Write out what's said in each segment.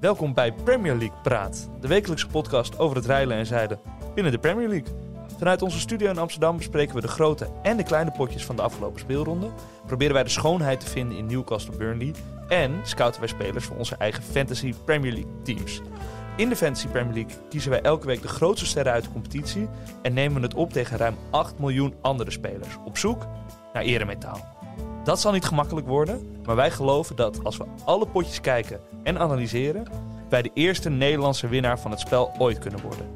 Welkom bij Premier League Praat, de wekelijkse podcast over het rijlen en zeilen binnen de Premier League. Vanuit onze studio in Amsterdam bespreken we de grote en de kleine potjes van de afgelopen speelronde. Proberen wij de schoonheid te vinden in Newcastle Burnley. En scouten wij spelers voor onze eigen Fantasy Premier League teams. In de Fantasy Premier League kiezen wij elke week de grootste sterren uit de competitie. En nemen we het op tegen ruim 8 miljoen andere spelers. Op zoek naar eremetaal. Dat zal niet gemakkelijk worden, maar wij geloven dat als we alle potjes kijken en analyseren, wij de eerste Nederlandse winnaar van het spel ooit kunnen worden.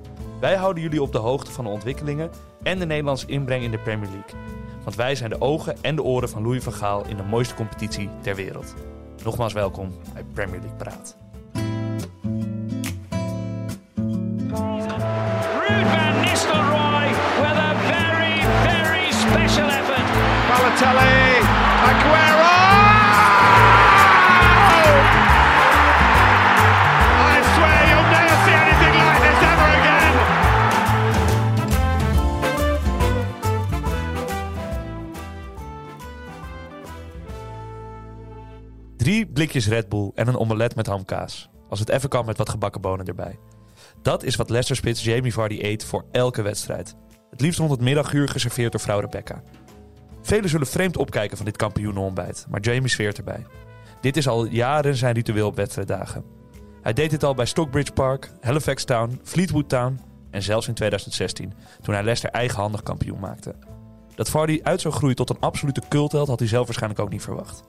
Wij houden jullie op de hoogte van de ontwikkelingen en de Nederlandse inbreng in de Premier League. Want wij zijn de ogen en de oren van Louis van Gaal in de mooiste competitie ter wereld. Nogmaals welkom bij Premier League Praat. Ruud van Nistelrooy with a very, very special effort. Balotelli, Aguero! I swear you'll never see anything like this ever again. Drie blikjes Red Bull en een omelet met hamkaas. Als het even kan met wat gebakken bonen erbij. Dat is wat Leicester-spits Jamie Vardy eet voor elke wedstrijd. Het liefst rond het middaguur geserveerd door vrouw Rebecca. Velen zullen vreemd opkijken van dit kampioenenontbijt, maar Jamie zweert erbij. Dit is al jaren zijn ritueel op wedstrijddagen. Hij deed dit al bij Stockbridge Park, Halifax Town, Fleetwood Town en zelfs in 2016, toen hij Leicester eigenhandig kampioen maakte. Dat Vardy uit zou groeien tot een absolute cultheld had hij zelf waarschijnlijk ook niet verwacht.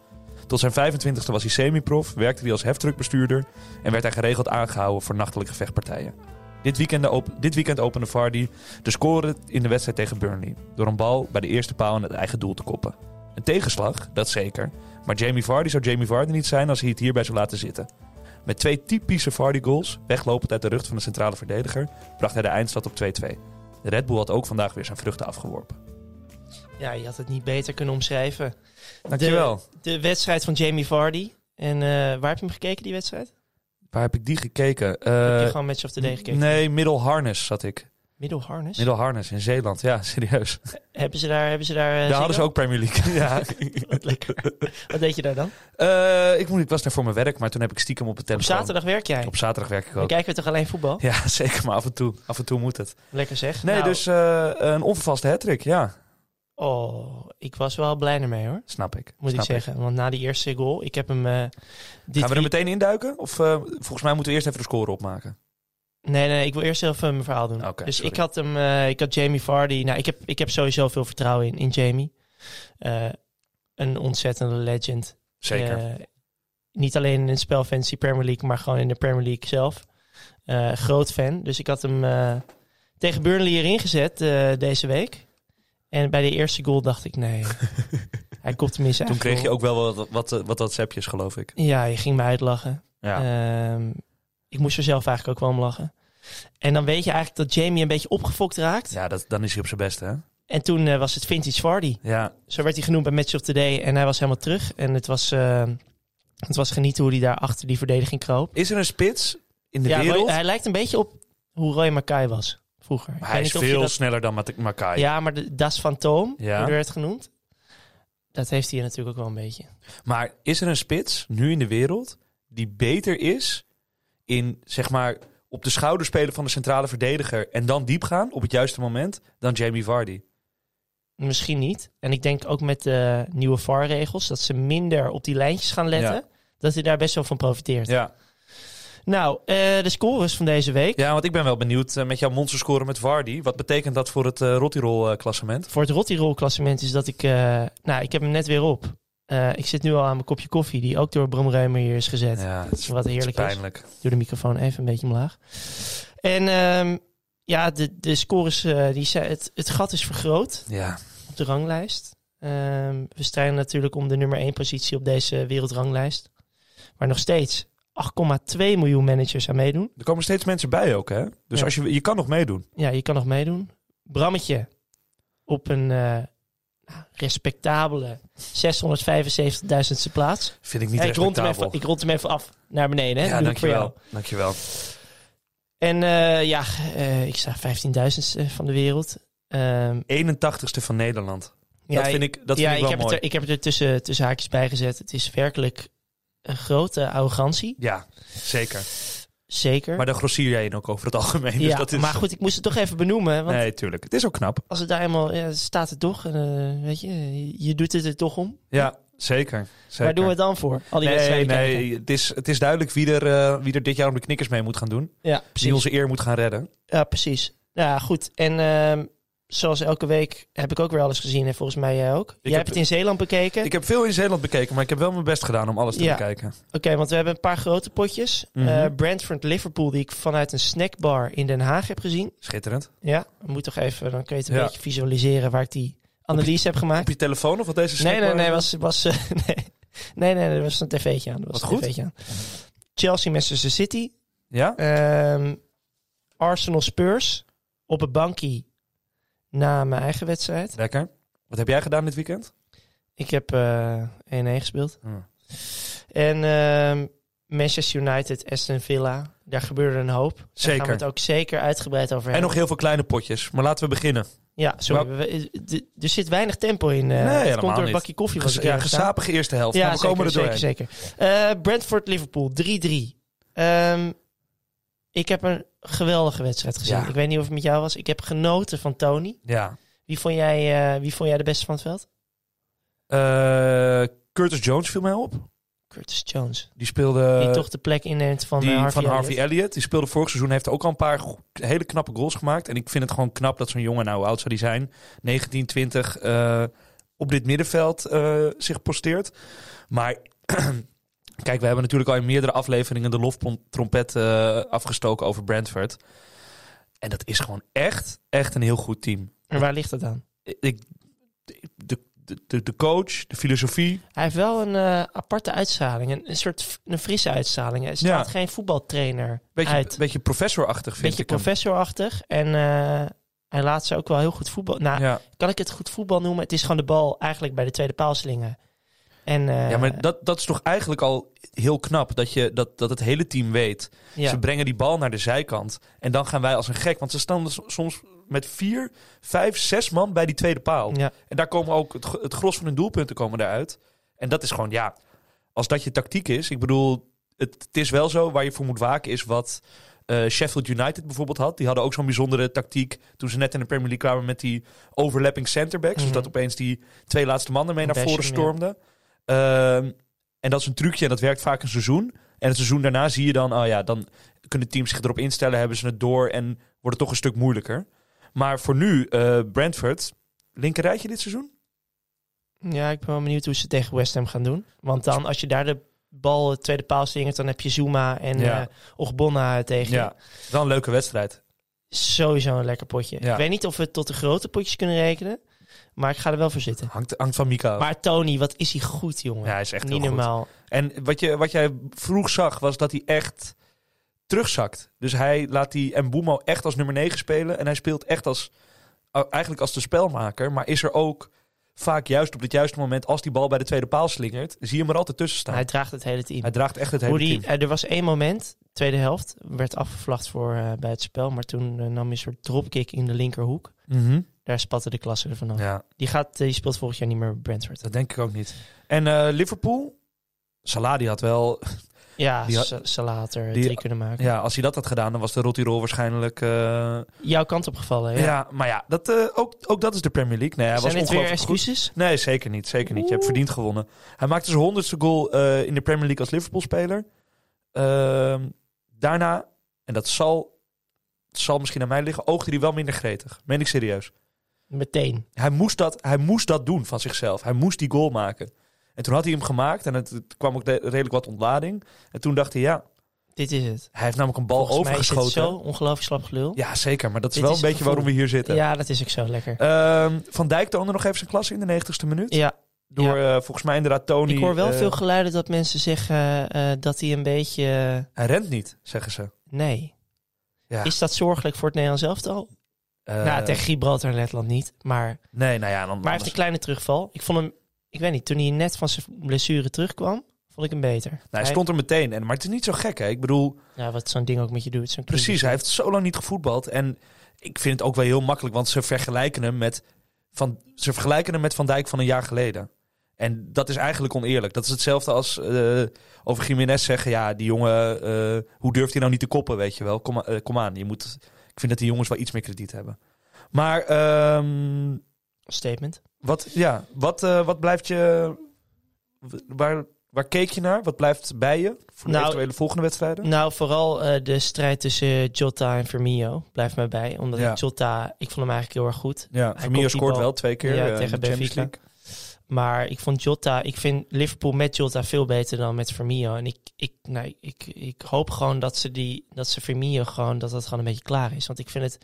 Tot zijn 25e was hij semi-prof, werkte hij als heftruckbestuurder en werd hij geregeld aangehouden voor nachtelijke vechtpartijen. Dit weekend, op, dit weekend opende Vardy de score in de wedstrijd tegen Burnley door een bal bij de eerste paal in het eigen doel te koppen. Een tegenslag, dat zeker, maar Jamie Vardy zou Jamie Vardy niet zijn als hij het hierbij zou laten zitten. Met twee typische Vardy-goals, weglopend uit de rug van de centrale verdediger, bracht hij de eindstand op 2-2. De Red Bull had ook vandaag weer zijn vruchten afgeworpen. Ja, je had het niet beter kunnen omschrijven. Dankjewel. De wedstrijd van Jamie Vardy. En eh, waar heb je hem gekeken, die wedstrijd? Waar heb ik die gekeken? heb je Eh, gewoon Match of the Day gekeken? Nee, Middle Harness zat ik. Middle Harness? Middle Harness in Zeeland, ja, serieus. Hebben ze daar... Hebben ze daar eh, Daar hadden ze Ziggo? ook Premier League. ja. Wat lekker. Wat deed je daar dan? Eh, ik, moet, ik was daar voor mijn werk, maar toen heb ik stiekem op de Op telefoon. zaterdag werk jij. Op zaterdag werk ik Dan ook. kijken we toch alleen voetbal? Ja, zeker, maar af en toe, af en toe moet het. Lekker zeg. Nee, Nou, dus eh, een onvervaste hattrick, ja, Oh, ik was wel blij ermee hoor. snap ik. Moet Snap ik zeggen. Want na die eerste goal, ik heb hem... eh, dit Gaan we er week- meteen induiken? Of eh, volgens mij moeten we eerst even de score opmaken. Nee, nee, ik wil eerst even mijn verhaal doen. Oké, dus sorry. ik had hem, eh, ik had Jamie Vardy. Nou, ik heb, ik heb sowieso veel vertrouwen in, in Jamie. Eh, een ontzettende legend. Zeker. Eh, niet alleen in het spel Fantasy Premier League, maar gewoon in de Premier League zelf. Eh, groot fan. Dus ik had hem eh, tegen Burnley erin gezet eh, deze week. En bij de eerste goal dacht ik, nee, hij kopt hem in zijn Toen eigen kreeg je goal. ook wel wat, wat, eh, wat WhatsAppjes, geloof ik. Ja, je ging me uitlachen. Ja. Ehm, ik moest er zelf eigenlijk ook wel om lachen. En dan weet je eigenlijk dat Jamie een beetje opgefokt raakt. ja, dat, dan is hij op zijn beste, hè? En toen eh, was het Vintage Vardy. Ja, Zo werd hij genoemd bij Match of the Day. En hij was helemaal terug. En het was, eh, het was genieten hoe hij daar achter die verdediging kroop. Is er een spits in de ja, wereld? Roy- hij lijkt een beetje op hoe Roy Makai was vroeger. Ik Maar weet hij is niet of je veel dat- sneller dan Mat- Makai. Ja, maar de Das Fantoom, Ja. hoe die werd genoemd. Dat heeft hij natuurlijk ook wel een beetje. Maar is er een spits nu in de wereld die beter is in, zeg maar, op de schouder spelen van de centrale verdediger en dan diep gaan op het juiste moment dan Jamie Vardy? Misschien niet. En ik denk ook met de nieuwe VAR-regels, dat ze minder op die lijntjes gaan letten. Ja. Dat hij daar best wel van profiteert. Ja, Nou, eh, de scores van deze week. ja want ik ben wel benieuwd eh, met jouw monsterscore met Vardy. Wat betekent dat voor het uh, klassement Voor het Rottirol-klassement is dat ik... eh, nou, ik heb hem net weer op. Eh, ik zit nu al aan mijn kopje koffie, die ook door Bram Reumer hier is gezet. Ja, het is, Wat heerlijk het is. is pijnlijk. Doe de microfoon even een beetje omlaag. En ehm, ja, de, de scores, eh, die zijn, het, het gat is vergroot Ja, op de ranglijst. Ehm, we strijden natuurlijk om de nummer 1 positie op deze wereldranglijst. Maar nog steeds 8,2 miljoen managers aan meedoen. er komen steeds mensen bij ook, hè? Dus Ja. als je, je kan nog meedoen. Ja, je kan nog meedoen. Brammetje op een eh, nou, respectabele 675.000ste plaats. Vind ik niet ik, rond hem respectabel. even, ik rond hem even af naar beneden. Hè? ja, Dat doe ik voor jou. dankjewel. Dankjewel. En eh, ja, eh, ik sta 15.000ste van de wereld. Ehm 81ste van Nederland. dat vind ik, dat ja, vind ik wel heb mooi. Het er, ik heb het er tussen, tussen haakjes bij gezet. Het is werkelijk een grote arrogantie. Ja, zeker. Zeker. Maar daar grossier jij in ook over het algemeen. Dus ja, dat is... maar goed, ik moest het toch even benoemen. Want Nee, tuurlijk. Het is ook knap. als het daar eenmaal ja, staat, het toch. eh, weet je, je doet het er toch om. Ja, zeker. zeker. Waar doen we het dan voor? Al die Nee, wedstrijden. kijken. nee het, is, het is duidelijk wie er, eh, wie er dit jaar om de knikkers mee moet gaan doen. Ja, Die precies. onze eer moet gaan redden. Ja, precies. Ja, goed. En ehm, zoals elke week heb ik ook weer alles gezien. En volgens mij jij ook. jij heb- hebt het in Zeeland bekeken. Ik heb veel in Zeeland bekeken, maar ik heb wel mijn best gedaan om alles te Ja. bekijken. Oké, want we hebben een paar grote potjes. Mhm. Eh, Brentford-Liverpool, die ik vanuit een snackbar in Den Haag heb gezien. Schitterend. Ja, we moeten toch even, dan kun je het een Ja. beetje visualiseren waar ik die analyse heb Op gemaakt. je telefoon of wat deze Nee, snackbar- nee, nee, was, was, eh, nee. nee, nee, er was een tv'tje aan. Er Wat was een goed. tv'tje aan. Chelsea, Manchester City, Ja? ehm, Arsenal, Spurs, op een bankie na mijn eigen wedstrijd. Lekker. Wat heb jij gedaan dit weekend? Ik heb eh, 1-1 gespeeld. Hmm. En ehm, Manchester United, Aston Villa, daar gebeurde een hoop. Daar gaan we Zeker. het ook zeker uitgebreid over En hebben. nog heel veel kleine potjes. Maar laten we beginnen. Ja, sorry. we- we- d- er zit weinig tempo in. eh Nee, het helemaal komt door een niet. bakje koffie. was Ges- ik ja, aan het staan. gezapige eerste helft. Ja, maar we zeker, komen er zeker, doorheen. zeker. Eh, Brentford-Liverpool, 3-3. Ehm, ik heb een geweldige wedstrijd gezien. Ja. Ik weet niet of het met jou was. Ik heb genoten van Tony. Ja. Wie vond jij, eh, wie vond jij de beste van het veld? Eh, Curtis Jones viel mij op. Curtis Jones. Die speelde... die toch de plek inneemt van Eh, die eh, Harvey van Harvey Elliott. Elliott. Die speelde vorig seizoen. Heeft ook al een paar go- hele knappe goals gemaakt. En ik vind het gewoon knap dat zo'n jongen, nou hoe oud zou die zijn? 19, 20. eh, op dit middenveld eh, zich posteert. Maar kijk, we hebben natuurlijk al in meerdere afleveringen de loftrompet eh afgestoken over Brentford. En dat is gewoon echt, echt een heel goed team. En waar ligt dat aan? Ik, de, de- de, de coach, de filosofie. Hij heeft wel een eh, aparte uitstraling. Een, een soort f- een frisse uitstraling. Hij straalt Ja. geen voetbaltrainer Beetje, uit. beetje professorachtig vind Beetje ik hem. professorachtig. En eh, hij laat ze ook wel heel goed voetbal. Nou, Ja. kan ik het goed voetbal noemen? Het is gewoon de bal eigenlijk bij de tweede paal slingen. En, eh, Ja, maar dat, dat is toch eigenlijk al heel knap. Dat, je, dat, dat het hele team weet. ja. Ze brengen die bal naar de zijkant. En dan gaan wij als een gek. Want ze staan er s- soms met vier, vijf, zes man bij die tweede paal. Ja. En daar komen ook het, gro- het gros van hun doelpunten komen daaruit. En dat is gewoon, ja, als dat je tactiek is. Ik bedoel, het, het is wel zo. Waar je voor moet waken is wat eh, Sheffield United bijvoorbeeld had. Die hadden ook zo'n bijzondere tactiek. Toen ze net in de Premier League kwamen met die overlapping centerbacks. Mhm. Dus dat opeens die twee laatste mannen mee naar Basham, voren ja. stormden. Ehm, en dat is een trucje en dat werkt vaak een seizoen. En het seizoen daarna zie je dan, oh ja, dan kunnen teams zich erop instellen, hebben ze het door en wordt het toch een stuk moeilijker. Maar voor nu, eh Brentford, linker rijtje dit seizoen? Ja, ik ben wel benieuwd hoe ze tegen West Ham gaan doen. Want dan, als je daar de bal de tweede paal slingert, dan heb je Zuma en eh Ja. Ogbonna tegen je. Ja, wel een leuke wedstrijd. Sowieso een lekker potje. Ja. Ik weet niet of we het tot de grote potjes kunnen rekenen, maar ik ga er wel voor zitten. Hangt, hangt van Mika. af. Maar Tony, wat is hij goed, jongen. Oh. ja, hij is echt Niet heel goed. normaal. En wat, je, wat jij vroeg zag, was dat hij echt terugzakt. Dus hij laat die Mbumo echt als nummer 9 spelen. En hij speelt echt als, a- eigenlijk als de spelmaker. Maar is er ook vaak juist op het juiste moment, als die bal bij de tweede paal slingert, zie je hem er altijd tussen staan. Hij Hij, draagt het hele team. draagt echt het hele Hoe die, team. eh, er was één moment, tweede helft, werd afgevlacht voor eh, bij het spel. Maar toen eh, nam hij een soort dropkick in de linkerhoek. Mhm. Daar spatte de klasse ervan af. Ja, Die, gaat, eh, die speelt volgend jaar niet meer bij Brentford. dat denk ik ook niet. En eh, Liverpool? Salah die had wel... Ja, Die had- Sa- Salater die- drie kunnen maken. Ja, als hij dat had gedaan, dan was de Rotirol waarschijnlijk... eh, Jouw kant opgevallen, ja. ja. maar ja, dat, eh, ook, ook dat is de Premier League. Nee, hij Zijn was dit weer ongelooflijk goed. excuses? Nee, zeker niet. Zeker niet. Je hebt Oeh. verdiend gewonnen. Hij maakte zijn honderdste goal eh, in de Premier League als Liverpool-speler. Ehm, daarna, en dat zal, het zal misschien aan mij liggen, oogde hij wel minder gretig. Meen ik serieus. Meteen. Hij moest, dat, hij moest dat doen van zichzelf. Hij moest die goal maken. En toen had hij hem gemaakt en het, het kwam ook de- redelijk wat ontlading. En toen dacht hij, ja, Dit is het. hij heeft namelijk een bal Volgens mij is het overgeschoten. zo ongelooflijk slap gelul. Ja, zeker. Maar dat is Dit wel is een beetje het gevoel. waarom we hier zitten. Ja, dat is ook zo lekker. Ehm, van Dijk toonde nog even zijn klasse in de 90ste minuut. Ja, Door eh, volgens mij inderdaad Tony... ik hoor wel eh, veel geluiden dat mensen zeggen eh, eh, dat hij een beetje... eh, Hij rent niet, zeggen ze. nee. Ja. Is dat zorgelijk voor het Nederlands elftal? Eh, nou, tegen Gibraltar en Letland niet. Maar, Nee, nou ja, dan. maar hij heeft een anders- kleine terugval. Ik vond hem... Ik weet niet, toen hij net van zijn blessure terugkwam, vond ik hem beter. Nou, hij Hij- stond er meteen. En, maar het is niet zo gek, hè? Ik bedoel, Ja, wat zo'n ding ook met je doet. zo'n precies. knieën. Hij heeft zo lang niet gevoetbald. En ik vind het ook wel heel makkelijk, want ze vergelijken hem met Van, ze vergelijken hem met van Dijk van een jaar geleden. En dat is eigenlijk oneerlijk. Dat is hetzelfde als eh, over Jiménez zeggen... ja, die jongen, eh, hoe durft hij nou niet te koppen, weet je wel? Kom, eh, kom aan, je moet... Ik vind dat die jongens wel iets meer krediet hebben. Maar ehm, Statement. wat, ja, wat, eh, wat blijft je... Waar, waar keek je naar? Wat blijft bij je voor de Nou, eventuele volgende wedstrijden? Nou, vooral eh, de strijd tussen Jota en Firmino blijft mij bij. Omdat Ja. ik Jota, ik vond hem eigenlijk heel erg goed. Ja, Hij Firmino komt die scoort bal- wel twee keer Ja, eh, in tegen de Champions Benfica. League. Maar ik vond Jota, ik vind Liverpool met Jota veel beter dan met Firmino. En ik, ik, nou, ik, ik hoop gewoon dat ze, die, dat ze Firmino gewoon, dat dat gewoon een beetje klaar is. Want ik vind het,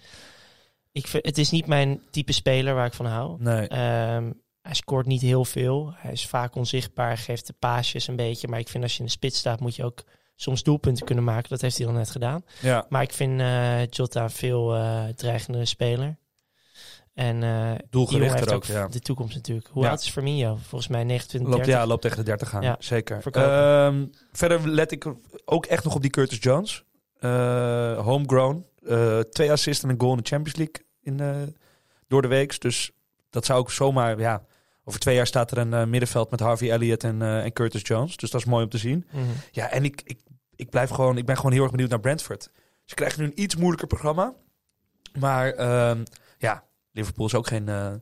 ik vind, het is niet mijn type speler waar ik van hou. Nee. Ehm, hij scoort niet heel veel. Hij is vaak onzichtbaar, geeft de paasjes een beetje. Maar ik vind als je in de spits staat, moet je ook soms doelpunten kunnen maken. Dat heeft hij dan net gedaan. Ja. Maar ik vind eh Jota een veel eh dreigende speler. En eh, die jongen heeft Doelgerichter ook, ook, ja. de toekomst natuurlijk. Hoe Ja. oud is Firmino? Volgens mij 29, Loopt, ja, loopt tegen de 30 aan, Ja, zeker. verkopen. Ehm, verder let ik ook echt nog op die Curtis Jones. Eh, homegrown. Eh, twee assists en een goal in de Champions League in, eh, door de week. Dus dat zou ook zomaar... Ja, over twee jaar staat er een eh, middenveld met Harvey Elliott en, eh, en Curtis Jones. Dus dat is mooi om te zien. Mhm. Ja, en ik, ik, ik, blijf gewoon, ik ben gewoon heel erg benieuwd naar Brentford. Ze krijgen nu een iets moeilijker programma. Maar ehm, ja, Liverpool is ook geen, eh,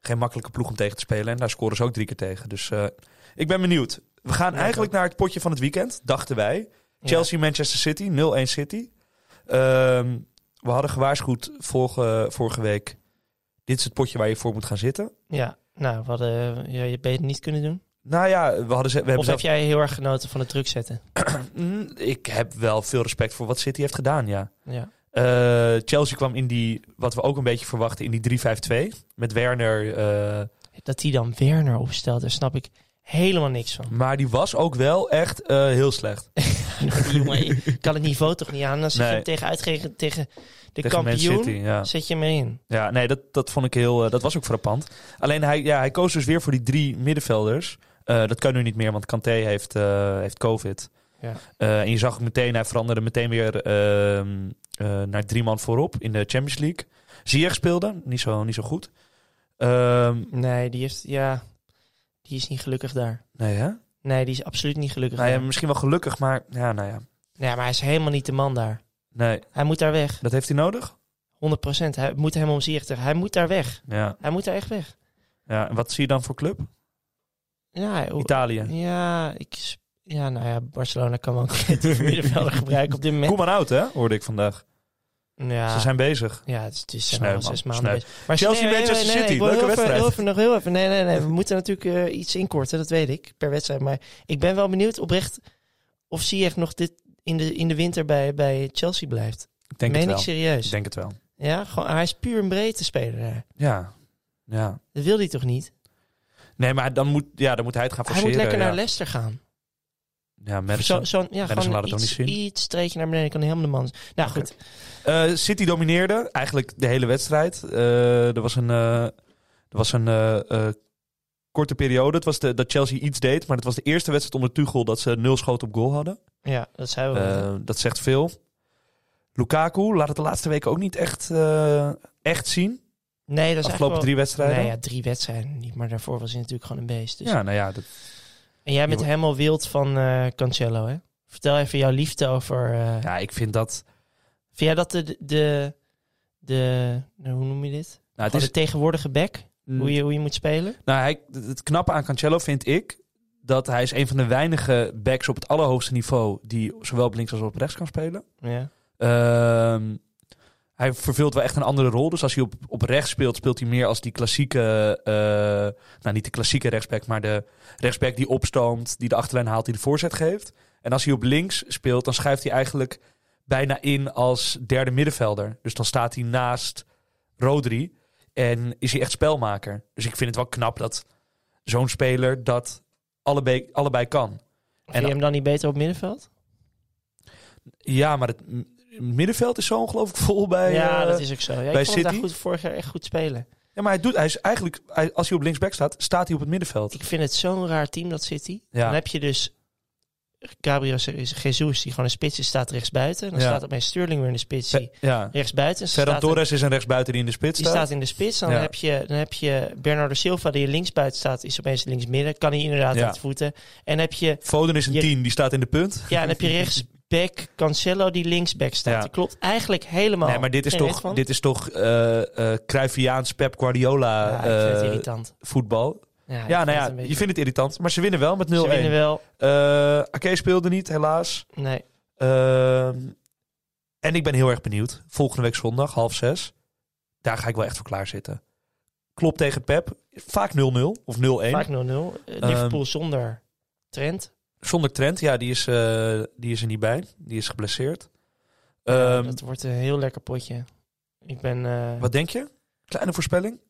geen makkelijke ploeg om tegen te spelen. En daar scoren ze ook drie keer tegen. Dus eh, ik ben benieuwd. We gaan Ja, ik eigenlijk ook. naar het potje van het weekend, dachten wij. Ja. Chelsea, Manchester City, 0-1 City. Ehm, we hadden gewaarschuwd vorige, vorige week. Dit is het potje waar je voor moet gaan zitten. Ja, nou, we hadden, eh, ja, je beter niet kunnen doen. Nou ja, we hadden ze, we hebben Of zelf- heb jij heel erg genoten van het druk zetten? Mm, Ik heb wel veel respect voor wat City heeft gedaan, ja. Ja. Eh, Chelsea kwam in die, wat we ook een beetje verwachten, in die 3-5-2. Met Werner. eh, Dat hij dan Werner opstelt, daar snap ik helemaal niks van. maar die was ook wel echt eh, heel slecht. Die jongen, ik kan het niveau toch niet aan. Dan zet je Nee. hem tegen, uitgerekend tegen de tegen Man kampioen, City, ja. zet je hem erin. ja nee, dat, dat vond ik heel. eh, dat was ook frappant. Alleen hij, ja, hij koos dus weer voor die drie middenvelders. Eh, dat kan nu niet meer, want Kanté heeft, eh, heeft COVID. Ja. Eh, en je zag ook meteen, hij veranderde meteen weer ehm, eh, naar drie man voorop in de Champions League. Ziyech speelde, niet zo, niet zo goed. Ehm, Nee, die, heeft, ja, die is niet gelukkig daar. nee, hè? Nee, die is absoluut niet gelukkig Nou ja, daar. misschien wel gelukkig, maar ja, nou ja. Nee, maar hij is helemaal niet de man daar. Nee, Hij moet daar weg. dat heeft hij nodig? 100%. Hij moet helemaal omzichtig. Hij moet daar weg. Ja. Hij moet daar echt weg. ja. En wat zie je dan voor club? Ja, hoe- Italië. Ja, ik, s- ja, nou ja, Barcelona kan wel een creatieve middenvelder gebruiken op dit moment. Koeman oud, hè? Hoorde ik vandaag. Ze Ja, zijn bezig. ja het is, het is Sneu, zijn al man. zes maanden. Sneu. bezig. Maar Chelsea, Manchester City, ik wil heel leuke even- wedstrijd. Heel even, nog heel even. Nee, nee, nee. We moeten natuurlijk eh, iets inkorten, dat weet ik, per wedstrijd. Maar ik ben wel benieuwd oprecht of Ziyech nog dit in de, in de winter bij, bij Chelsea blijft. Ik denk Meen het wel. ik serieus. Ik denk het wel. Ja, gewoon, hij is puur een breedte speler daar. Ja. ja. Dat wil hij toch niet? Nee, maar dan moet, ja, dan moet hij het gaan Hij forceren. moet lekker ja. naar Leicester gaan. Ja, Zo, Madison. zo'n ja, Madison laat gewoon het ook iets, niet zien. iets streetje naar beneden. Kan helemaal de man. zijn. Nou Oké. goed, Eh, City domineerde eigenlijk de hele wedstrijd. Eh, er was een, eh, er was een eh, eh, korte periode. Het was de, dat Chelsea iets deed, maar het was de eerste wedstrijd onder Tuchel dat ze nul schoten op goal hadden. ja, dat zijn we. wel. Eh, dat zegt veel. Lukaku laat het de laatste weken ook niet echt, eh, echt zien. nee, dat Afgelopen is eigenlijk wel- drie wedstrijden. Nou ja, drie wedstrijden niet, maar daarvoor was hij natuurlijk gewoon een beest. Dus. Ja, nou ja, dat, En jij bent Je- helemaal wild van eh Cancelo, hè? Vertel even jouw liefde over... eh, ja, ik vind dat... Vind jij dat de, de, de, de- Hoe noem je dit? Nou, Gewoon het is, Mm. de tegenwoordige back? Hoe je, hoe je moet spelen? nou hij, het knappe aan Cancelo vind ik... dat hij is een van de weinige backs op het allerhoogste niveau... die zowel op links als op rechts kan spelen. Ja. Ehm, hij vervult wel echt een andere rol. Dus als hij op, op rechts speelt, speelt hij meer als die klassieke... eh, nou, niet de klassieke rechtsback, maar de rechtsback die opstoomt... die de achterlijn haalt, die de voorzet geeft. En als hij op links speelt, dan schuift hij eigenlijk bijna in als derde middenvelder. Dus dan staat hij naast Rodri en is hij echt spelmaker. Dus ik vind het wel knap dat zo'n speler dat allebei, allebei kan. Vind je hem dan niet beter op middenveld? Ja, maar het m- middenveld is zo ongelooflijk vol bij... ja, eh, dat is ook zo. Ja, ik bij vond hem daar City? goed, vorig jaar echt goed spelen. Ja, maar hij doet, hij is eigenlijk, hij- als hij op linksback staat, staat hij op het middenveld. Ik vind het zo'n raar team, dat City. Ja. Dan heb je dus Gabriel Jesus, die gewoon een spits is, staat rechts buiten. Dan Ja. staat opeens Sterling weer in de spits. die Ja. Rechts buiten. Ferran Torres is een rechtsbuiten die in de spits Die staat. staat in de spits. Dan, Ja. heb je, dan heb je Bernardo Silva, die linksbuiten staat, is opeens linksmidden. Kan hij inderdaad Ja. aan het voeten. En heb je, Foden is een Je- 10, die staat in de punt. ja, dan heb je rechtsback Cancelo, die linksback staat. Ja. Dat klopt eigenlijk helemaal. Nee, maar dit is Geen weet toch, van. dit is toch eh eh Cruyffiaans Pep Guardiola ja, ik vind het eh, irritant. voetbal. Ja, Ja, ik vind het nou een ja, beetje- je vindt het irritant, maar ze winnen wel met 0-1. Ze winnen wel. Eh, Ake speelde niet, helaas. Nee. Ehm, en ik ben heel erg benieuwd. Volgende week zondag, half zes. Daar ga ik wel echt voor klaarzitten. Klop tegen Pep. Vaak 0-0 of 0-1. Vaak 0-0. Eh, Ehm, Liverpool zonder Trent. Zonder Trent, ja, die is, eh, die is er niet bij. Die is geblesseerd. Ehm, Eh, dat wordt een heel lekker potje. Ik ben... eh, Wat denk je? Kleine voorspelling?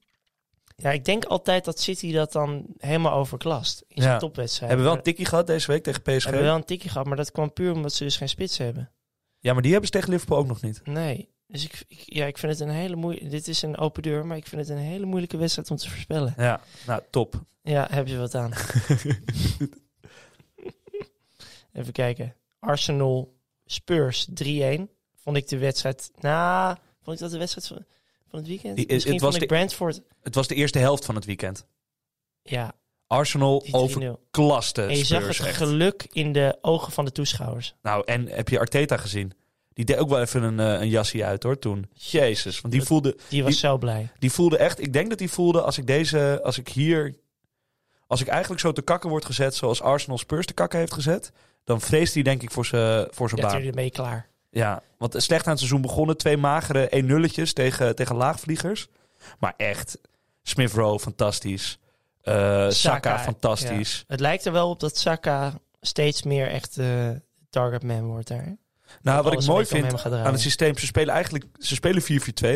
ja, ik denk altijd dat City dat dan helemaal overklast in zijn Ja. topwedstrijd. Hebben we wel Maar- een tikkie gehad deze week tegen PSG. hebben wel een tikje gehad, maar dat kwam puur omdat ze dus geen spits hebben. Ja, maar die hebben ze tegen Liverpool ook nog niet. Nee. Dus ik, ik- ja, ik vind het een hele moeilijke... Dit is een open deur, maar ik vind het een hele moeilijke wedstrijd om te voorspellen. Ja, nou, top. Ja, heb je wat aan. Even kijken. Arsenal Spurs 3-1. Vond ik de wedstrijd... Na, vond ik dat de wedstrijd van, van het weekend? Die- het- Misschien het was vond ik de- Brentford... Het was de eerste helft van het weekend. Ja, Arsenal die 3-0. overklaste En je zag het Spurs echt. geluk in de ogen van de toeschouwers. Nou, en heb je Arteta gezien? Die deed ook wel even een, eh, een jassie uit hoor toen. Jezus, want die Dat- voelde, Die was Die- zo blij. die voelde echt... Ik denk dat die voelde als ik deze... Als ik hier... Als ik eigenlijk zo te kakken word gezet zoals Arsenal Spurs te kakken heeft gezet... Dan vreest hij denk ik voor zijn voor zijn Ja, baan. toen ben je klaar. Ja, want slecht aan het seizoen begonnen. Twee magere 1 nulletjes tegen, tegen laagvliegers. Maar echt, Smith Rowe fantastisch. Eh, Saka, Saka, fantastisch. Het lijkt er wel op dat Saka steeds meer echt eh target man wordt daar. hè? Nou, wat Alles ik mooi een beetje om vind hem gaat draaien. aan het systeem, ze spelen eigenlijk ze spelen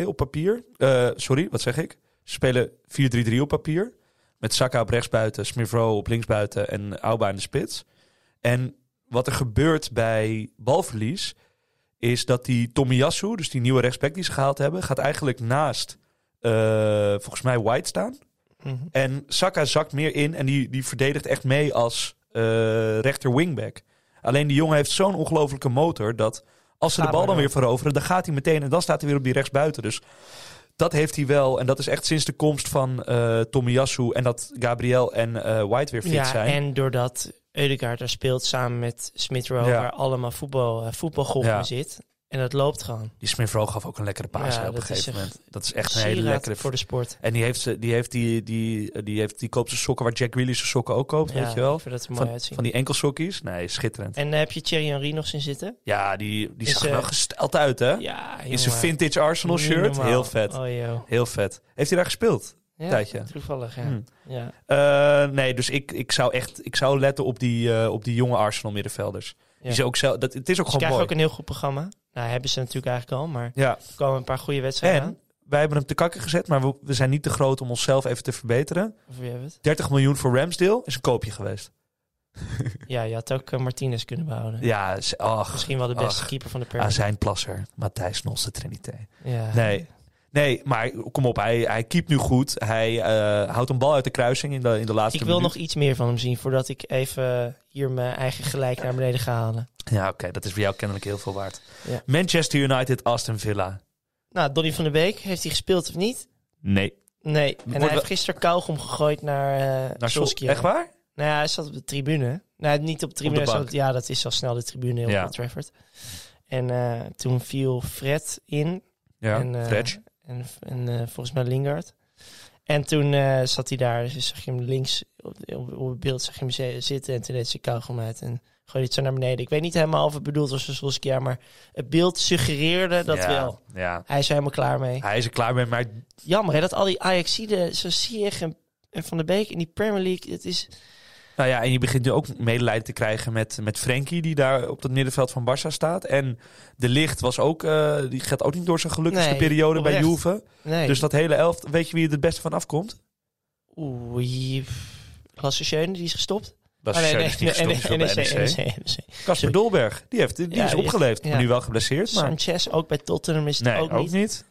4-4-2 op papier. Eh, sorry, wat zeg ik? Ze spelen 4-3-3 op papier. Met Saka op rechtsbuiten, Smith Rowe op linksbuiten en Auba in de spits. En wat er gebeurt bij balverlies, is dat die Tomiyasu, dus die nieuwe rechtsback die ze gehaald hebben, gaat eigenlijk naast, eh, volgens mij, White staan. Mhm. En Saka zakt meer in en die, die verdedigt echt mee als eh, rechter wingback. Alleen die jongen heeft zo'n ongelofelijke motor dat als ze Gaat de bal maar dan door. weer veroveren, dan gaat hij meteen en dan staat hij weer op die rechtsbuiten. Dus dat heeft hij wel. En dat is echt sinds de komst van eh Tomiyasu en dat Gabriel en eh, White weer fit Ja, zijn. en doordat Eudegaard daar speelt samen met Smith Rowe, Ja. waar allemaal voetbal, eh, voetbalgolf Ja. in zit. En dat loopt gewoon. Die Smith Rowe gaf ook een lekkere paas Ja, hè, op een dat is gegeven echt moment. Dat is echt een hele Sieraad lekkere... voor de sport. En die heeft, ze- die, heeft die, die, die, heeft, die koopt zijn sokken waar Jack Grealish zijn sokken ook koopt, Ja, weet je wel. ik vind dat er mooi Van, uitzien. van die enkelsokkies. Nee, schitterend. En eh, heb je Thierry Henry nog zien zitten? Ja, die, die Is, zag eh, er wel gesteld uit, hè? Ja, In zijn jongen. vintage Arsenal Niet shirt. normaal. Heel vet. Oh, joh. Heel vet. Heeft hij daar gespeeld? Ja, Tijdje. toevallig, ja. Hmm. ja. Eh, nee, dus ik, ik zou echt ik zou letten op die, eh, op die jonge Arsenal middenvelders. Die Ja. zijn ook zelf, dat, het is ook Ze gewoon krijgen mooi. ook een heel goed programma. Nou, hebben ze natuurlijk eigenlijk al, maar Ja. er komen een paar goede wedstrijden aan. En wij hebben hem te kakken gezet, maar we, we zijn niet te groot om onszelf even te verbeteren. Of wie hebben we 30 miljoen voor Ramsdale is een koopje geweest. het? Ja, je had ook eh, Martinez kunnen behouden. Ja, is- ach, Misschien wel de beste Ach. keeper van de aan Premier zijn plasser. Matthijs Nosse Trinité. League. Ja. Nee. Nee, maar kom op, hij, hij keept nu goed. Hij eh, houdt een bal uit de kruising in de, in de laatste Ik wil minuut. nog iets meer van hem zien voordat ik even hier mijn eigen gelijk naar beneden ga halen. Ja, oké, dat is voor jou kennelijk heel veel waard. Ja. Manchester United, Aston Villa. Nou, Donny van der Beek, heeft hij gespeeld of niet? Nee. Nee. En Wordt hij wel- heeft gisteren kauwgom gegooid naar, eh Naar Sol- Solskjaer. Echt waar? Nou ja, hij zat op de tribune. Nou, niet op de tribune. Op de hij zat- bank. ja, dat is al snel de tribune op Ja. Old Trafford. En eh, toen viel Fred in. Ja, en, eh, Fred. En, en eh, volgens mij Lingard. En toen eh, zat hij daar. Dus zag je hem links op, op, op het beeld zag je hem zi- zitten. En toen deed ze kauwgom uit. En gooide het zo naar beneden. Ik weet niet helemaal of het bedoeld was voor Solskjaer. Maar het beeld suggereerde dat ja, wel. Ja. Hij is er helemaal klaar mee. Hij is er klaar mee, maar Jammer hè, dat al die Ajaxiden, zo Ziyech en, en Van der Beek in die Premier League, het is... nou ja, en je begint nu ook medelijden te krijgen met, met Frenkie, die daar op het middenveld van Barça staat. En De Licht was ook, eh, die gaat ook niet door zijn gelukkigste Nee, periode bij oprecht. Juve. Nee, Dus dat hele elft, weet je wie er het beste van afkomt? oei... pff. Lasse Schöne, die is gestopt. Dat Ah, is nee, Schöne, die nee, gestopt nee, is bij E NEC, NEC. NEC. Casper Sorry. Dolberg, die, heeft, die Ja, is die is- opgeleefd, maar ja. nu wel geblesseerd. Maar Sanchez, ook bij Tottenham is het nee, ook, niet.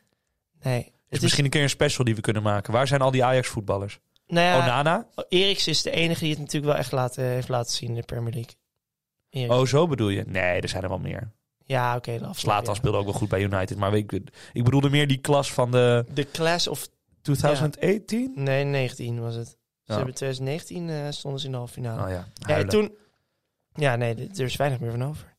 Nee. Het Is is- misschien een keer een special die we kunnen maken. Waar zijn al die Ajax-voetballers? nou ja, Onana? eh, Eriks is de enige die het natuurlijk wel echt laten, heeft laten zien in de Premier League. Eriksen. Oh, zo bedoel je? Nee, er zijn er wel meer. Ja, oké. de afgelopen Slaat jaren. speelde ook wel goed bij United. Maar ik, ik bedoelde meer die klas van de De class of... 2018. Nee, 19 was het. Ze Ja. hebben 2019 eh, stonden ze in de halve finale. Oh ja, ja, en huilen. toen... Ja, nee, d- er is weinig meer van over.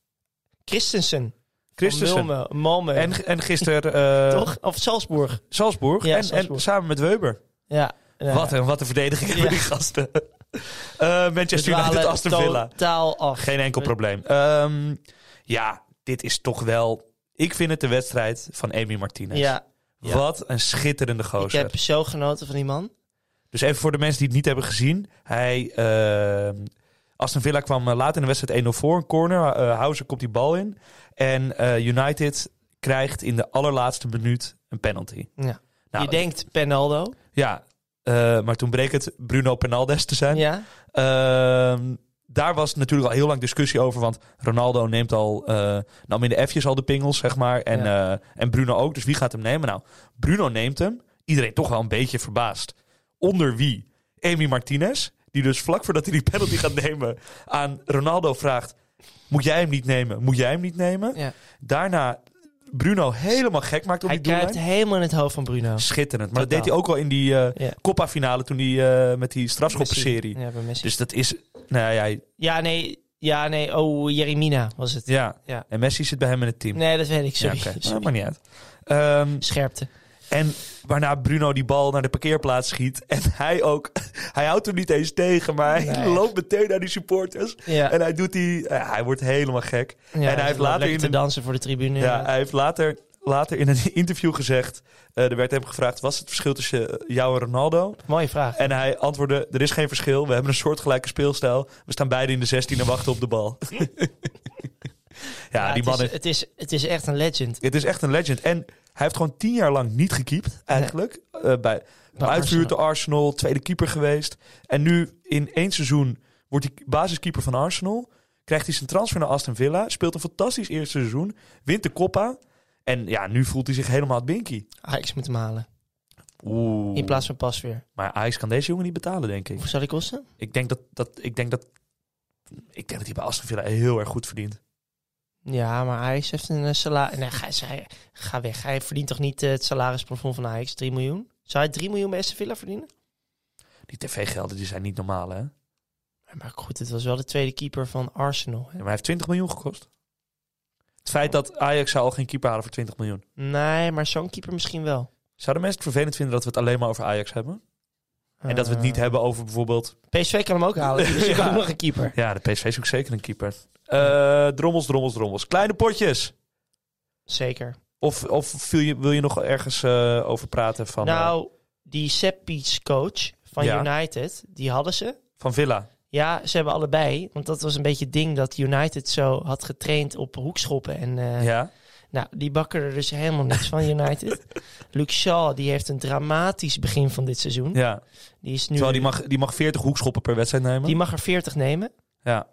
Christensen. Christensen. Malmö. Malmö. En, en gisteren eh, Toch? Of Salzburg. Salzburg. Ja, en, en Salzburg. samen met Weber. Ja. Ja. Wat, een, wat een verdediging hebben Ja. die gasten. Eh We Manchester United, dwalen Aston Villa. totaal af. Geen enkel We- probleem. Ehm, ja, dit is toch wel... Ik vind het de wedstrijd van Amy Martinez. Ja, ja. Wat een schitterende ik gozer. heb zo genoten van die man. Dus even voor de mensen die het niet hebben gezien. Hij, ehm, Aston Villa kwam eh, laat in de wedstrijd 1-0 voor, een corner. Eh Houser komt die bal in. En eh, United krijgt in de allerlaatste minuut een penalty. Ja. Nou, je denkt Penaldo. Ja, eh, maar toen bleek het Bruno Penaldes te zijn. Ja. Ehm, daar was natuurlijk al heel lang discussie over. Want Ronaldo neemt al, eh, nam in de F'jes al de pingels, zeg maar. En, eh, en Bruno ook. Dus wie gaat hem nemen? Nou, Bruno neemt hem. Iedereen toch wel een beetje verbaasd. Onder wie? Amy Martinez. Die dus vlak voordat hij die penalty gaat nemen aan Ronaldo vraagt... Moet jij hem niet nemen? Moet jij hem niet nemen? Ja. Daarna Bruno helemaal gek maakt op Hij die doellijn. kruipt helemaal in het hoofd van Bruno. Schitterend. Maar dat Totaal. deed hij ook al in die eh Ja. Coppa-finale toen hij eh, met die strafschoppenserie. Ja, bij Messi. Dus dat is... Nou ja, ja, nee. Ja, nee. Oh, Jeremina was het. Ja. Ja. En Messi zit bij hem in het team. Nee, dat weet ik. Sorry. Ja, oké. Sorry. Maar maakt niet uit. Ehm, Scherpte. en waarna Bruno die bal naar de parkeerplaats schiet. En hij ook... Hij houdt hem niet eens tegen, maar hij Nee. loopt meteen naar die supporters. Ja. En hij doet die... eh, hij wordt helemaal gek. Ja, en hij heeft loopt later lekker in te een, dansen voor de tribune. ja, Ja, hij heeft later, later in een interview gezegd... eh, er werd hem gevraagd, wat is het verschil tussen eh, jou en Ronaldo? Mooie vraag. En hij antwoordde, er is geen verschil. We hebben een soortgelijke speelstijl. We staan beide in de 16 en wachten op de bal. ja, Ja, die het, man is, het, is, het is echt een legend. Het is echt een legend. En hij heeft gewoon tien jaar lang niet gekiept, eigenlijk. Eh, bij Bij uitvuur te Arsenal, tweede keeper geweest. En nu in één seizoen wordt hij basiskeeper van Arsenal. Krijgt hij zijn transfer naar Aston Villa. Speelt een fantastisch eerste seizoen. Wint de Coppa. En ja, nu voelt hij zich helemaal het binky. Ajax moet hem halen. Oeh. In plaats van pas weer. Maar Ajax kan deze jongen niet betalen, denk ik. Hoeveel zal die kosten? Ik denk dat, dat, ik denk dat, ik denk dat hij bij Aston Villa heel erg goed verdient. Ja, maar Ajax heeft een salaris. Nee, ga, hij- ga weg. Hij verdient toch niet eh, het salarisplafond van Ajax? 3 miljoen? Zou hij 3 miljoen bij Aston Villa verdienen? Die tv-gelden die zijn niet normaal, hè? Ja, Ja, Maar goed, het was wel de tweede keeper van Arsenal. Hè? maar hij heeft 20 miljoen gekost. Het feit dat Ajax zou al geen keeper halen voor 20 miljoen. Nee, maar zo'n keeper misschien wel. Zouden mensen het vervelend vinden dat we het alleen maar over Ajax hebben? En dat we het niet Eh. hebben over bijvoorbeeld... PSV kan hem ook halen. Dus Ja. ik ook nog een keeper. Ja, de PSV zoekt zeker een keeper. Eh, drommels, drommels, drommels. Kleine potjes. Zeker. Of, of viel je, wil je nog ergens eh, over praten van, eh, nou, die Seppies coach van Ja. United, die hadden ze. van Villa? Ja, ze hebben allebei. Want dat was een beetje het ding dat United zo had getraind op hoekschoppen. En eh, Ja. nou, die bakken er dus helemaal niks van, United. Luke Shaw, die heeft een dramatisch begin van dit seizoen. ja. Die is nu... Terwijl die mag, die mag 40 hoekschoppen per wedstrijd nemen. die mag er 40 nemen. Ja.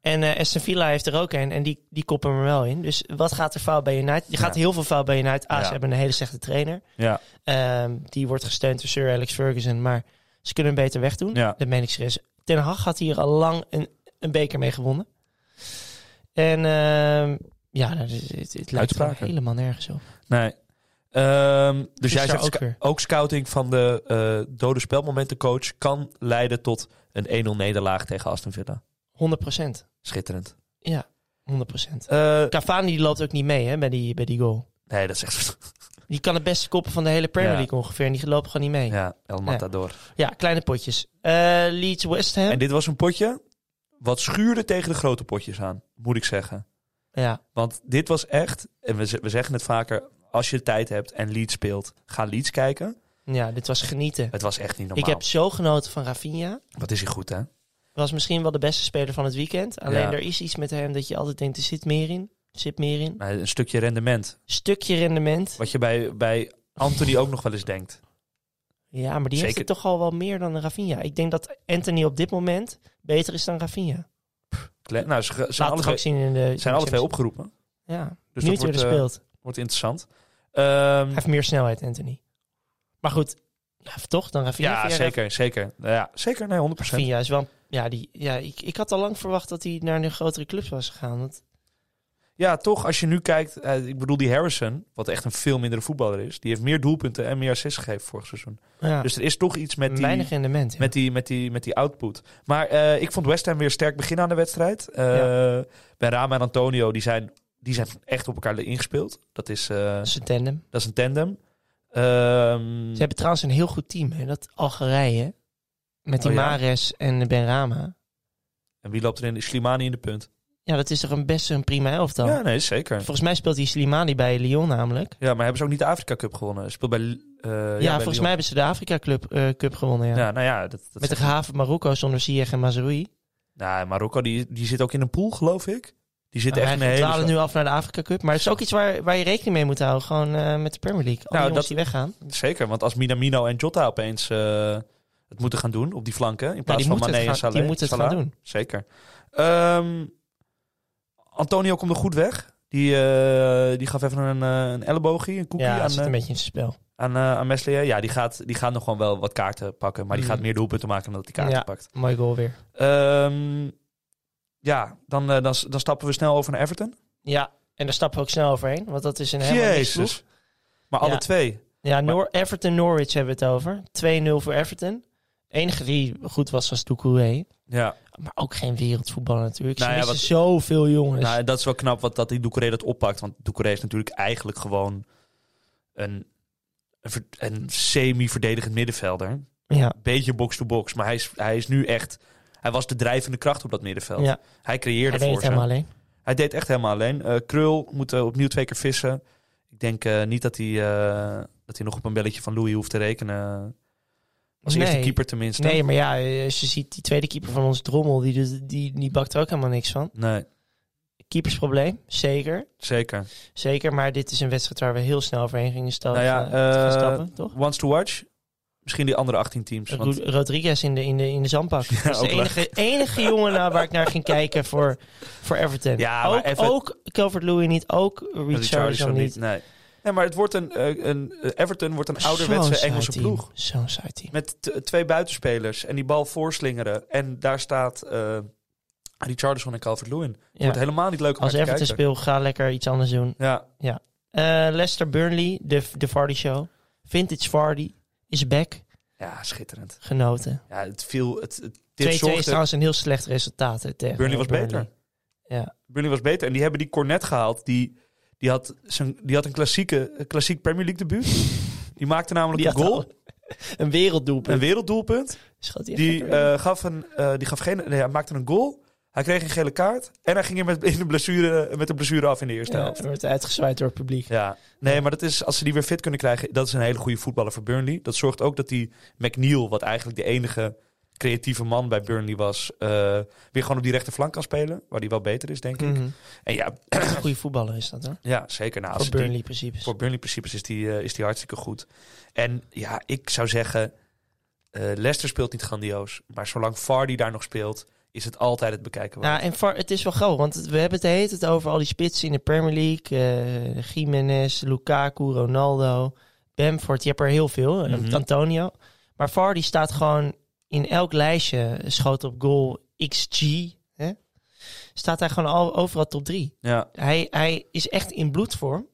En eh Aston Villa heeft er ook een en die, die koppen er wel in. Dus wat gaat er fout bij United? Je gaat Ja. heel veel fout bij United. Ah, Ja. ze hebben een hele slechte trainer. Ja. Ehm, die wordt gesteund door Sir Alex Ferguson, maar ze kunnen hem beter wegdoen. Ja. Dat meen ik serieus. Ten Hag had hier al lang een, een beker mee gewonnen. En ehm, ja, nou, het, het, het lijkt gewoon Uitspraken. helemaal nergens op. Nee. Ehm, dus Is jij daar zegt ook sc- weer. ook scouting van de eh, dode spelmomentencoach kan leiden tot een 1-0 nederlaag tegen Aston Villa. 100 procent. Schitterend. Ja, 100 procent. Eh, Cavani die loopt ook niet mee hè, bij, die, bij die goal. nee, dat is echt... Die kan het beste koppen van de hele Premier Ja. League ongeveer. En die loopt gewoon niet mee. Ja, El Matador. Ja, kleine potjes. Eh, Leeds West Ham. En dit was een potje wat schuurde tegen de grote potjes aan, moet ik zeggen. ja, Want dit was echt, en we, ze- we zeggen het vaker, als je tijd hebt en Leeds speelt, ga Leeds kijken. ja, dit was genieten. Het was echt niet normaal. Ik heb zo genoten van Rafinha. Wat is hij goed, hè? Was misschien wel de beste speler van het weekend. Alleen Ja. er is iets met hem dat je altijd denkt, er zit meer in. Er zit meer in. Nou, een stukje rendement. Stukje rendement. Wat je bij, bij Anthony ook nog wel eens denkt. Ja, maar die heeft Zeker. het toch al wel meer dan Rafinha. Ik denk dat Anthony op dit moment beter is dan Rafinha. Kle- Nou, ze, ze zijn, Laat alle het twee, ook zien in de... zijn alle twee opgeroepen. Ja, Dus nu dat het weer wordt, er eh, speelt. Wordt interessant. Ehm, Hij heeft meer snelheid, Anthony. Maar goed, ja, toch dan Rafinha. ja, Vind jij zeker, zeker. Nou Ja, zeker, nee, 100%. Rafinha is wel een Ja, die, ja ik, ik had al lang verwacht dat hij naar een grotere clubs was gegaan. Want, Ja, toch, als je nu kijkt, eh, ik bedoel die Harrison, wat echt een veel mindere voetballer is, die heeft meer doelpunten en meer assists gegeven vorig seizoen. ja, Dus er is toch iets met die, weinig rendement. ja. met die, met die, met die output. Maar eh, ik vond West Ham weer sterk beginnen aan de wedstrijd. Eh Ben Rama en Antonio, die zijn, die zijn echt op elkaar ingespeeld. Dat is, eh, Dat is een tandem. dat is een tandem. Ze Ehm hebben trouwens een heel goed team, hè? dat Algerije. Met die Oh, ja. Mares en Benrama. en wie loopt er in? Slimani in de punt. Ja, dat is toch een best een prima elftal. Ja, nee, zeker. Volgens mij speelt die Slimani bij Lyon namelijk. Ja, maar hebben ze ook niet de Afrika Cup gewonnen? Speelt bij. eh, ja, Ja, bij volgens Lyon. mij hebben ze de Afrika Club, eh, Cup gewonnen. Ja. Ja, nou ja, dat, dat Met de gehaven Marokko zonder Ziyech en Mazraoui. Nou, Marokko die, die zit ook in een pool, geloof ik. Die zit Nou, echt in een wij hele... dwalen nu af naar de Afrika Cup. Maar het is ook iets waar, waar je rekening mee moet houden. Gewoon eh, met de Premier League. Al die Nou, jongens dat- die weggaan. Zeker, want als Minamino en Jota opeens eh, het moeten gaan doen op die flanken... in Ja, plaats die van moeten Mané het, en gaan, Saleh. die moeten het Salah. gaan doen. Zeker. Ehm, Antonio komt er goed weg. Die, eh, die gaf even een, eh, een elleboogje, een koekje Ja, dat aan, zit een eh, beetje in zijn spel. aan, eh, aan Meslier. Ja, die gaat, die gaat nog gewoon wel wat kaarten pakken. Maar die Mm. gaat meer doelpunten maken dan dat hij kaarten Ja. pakt. Mooi goal weer. Ehm, ja, dan, eh, dan, dan stappen we snel over naar Everton. Ja, en daar stappen we ook snel overheen. Want dat is een helemaal niks ploeg. Jezus. Maar alle Ja. twee. Ja, Noor- Everton-Norwich hebben we het over. 2-0 voor Everton. Enige die goed was was Doucouré. Ja. Maar ook geen wereldvoetballer natuurlijk. Ze Nou ja, missen wat- zoveel jongens. Nou, en dat is wel knap wat, dat die Doucouré dat oppakt. Want Doucouré is natuurlijk eigenlijk gewoon een, een, ver- een semi-verdedigend middenvelder. ja. Beetje box-to-box. Maar hij is, hij is nu echt... Hij was de drijvende kracht op dat middenveld. Ja. Hij Hij creëerde deed voor het ze. helemaal alleen. Hij deed echt helemaal alleen. Eh, Krul moet eh, opnieuw twee keer vissen. Ik denk eh, niet dat hij, eh, dat hij nog op een belletje van Louis hoeft te rekenen. Als Nee. eerste keeper tenminste. Nee, maar ja, eh, als je ziet die tweede keeper van ons, Drommel, die, doet- die, die bakt er ook helemaal niks van. Nee, Keepersprobleem, zeker. zeker. Zeker, maar dit is een wedstrijd waar we heel snel overheen gingen sta- Nou ja, eh, gaan eh, stappen, toch? Once to watch. Misschien die andere 18 teams. Ro- Want Rodriguez in de, in de, in de zandbak. dat is de ook leuk. Dus enige, enige jongen naar waar ik naar ging kijken voor, voor Everton. Ja, maar ook, even- ook Calvert-Lewin niet, ook Richardson niet. Nee. Nee, maar het wordt een, eh, een, eh, Everton wordt een ouderwetse Zo'n Engelse saai team. ploeg. Zo'n saai team. Met t- twee buitenspelers en die bal voorslingeren. En daar staat eh Richardson en Calvert-Lewin. Het Ja. wordt helemaal niet leuk om Als naar te Everton kijken. speelt, ga lekker iets anders doen. Ja, Eh Leicester Burnley, de, de Vardy Show. Vintage Vardy is back. ja schitterend. Genoten. 2-2 Ja, het viel, het, het, dit is zorgde... trouwens een heel slecht resultaat. hè, tegen Burnley was beter. Ja. Burnley was beter. En die hebben die Cornet gehaald. Die, die, had, zijn, die had een klassieke, een klassiek Premier League debuut. Die maakte namelijk Die een had goal. al een werelddoelpunt. Een werelddoelpunt. Schat, die Die, echt lekker. eh, gaf een, eh, die gaf geen. Nee, hij maakte een goal. Hij kreeg een gele kaart. En hij ging er met, in de blessure, met de blessure af in de eerste ja, helft. het wordt uitgezwaaid door het publiek. Ja, nee, maar dat is, als ze die weer fit kunnen krijgen, dat is een hele goede voetballer voor Burnley. Dat zorgt ook dat die McNeil, wat eigenlijk de enige creatieve man bij Burnley was, eh, weer gewoon op die rechterflank kan spelen. Waar die wel beter is, denk ik. Mhm. En ja, Een goede voetballer is dat, hè? ja zeker. Nou, als Voor ze die- Burnley, principes. voor Burnley principes is die, eh, is die hartstikke goed. En ja, ik zou zeggen, eh Leicester speelt niet grandioos. Maar zolang Vardy daar nog speelt, is het altijd het bekijken waard. Nou, en Var- het is wel grappig, want het- we hebben het de hele tijd over al die spitsen in de Premier League. eh Jiménez, Lukaku, Ronaldo, Bamford. Je hebt er heel veel. eh, Mhm. Antonio. Maar Vardy staat gewoon in elk lijstje, schoot op goal, XG. Hè? Staat hij gewoon al, overal top drie. Ja, Hij, hij is echt in bloedvorm.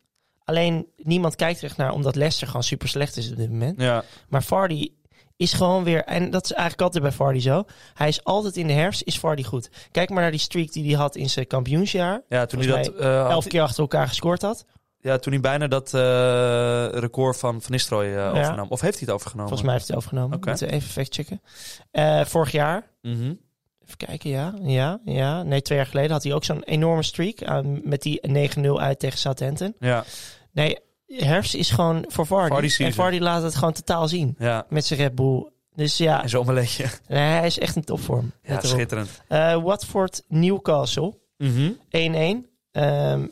Alleen niemand kijkt er echt naar, omdat Leicester gewoon super slecht is op dit moment. ja, Maar Vardy is gewoon weer... En dat is eigenlijk altijd bij Vardy zo. Hij is altijd in de herfst, is Vardy goed. Kijk maar naar die streak die hij had in zijn kampioensjaar. ja, toen, hij Volgens dat, eh, had- Elf keer achter elkaar gescoord had. ja toen hij bijna dat eh, record van Van Nistelrooy eh, overnam. Of heeft hij het overgenomen? Volgens mij heeft hij het overgenomen. Oké. Moeten we even factchecken. Eh, vorig jaar... Mhm. Even kijken, ja. Ja, ja. Nee, twee jaar geleden had hij ook zo'n enorme streak. eh, met die 9-0 uit tegen Southampton. Ja, Nee, herfst is gewoon voor Vardy. Vardy season. en Vardy laat het gewoon totaal zien. ja. Met zijn Red Bull. Dus ja, En zo'n omeletje. nee, hij is echt in topvorm. Ja, Let erop. schitterend. Eh, Watford-Newcastle. Mhm. 1-1. Ehm,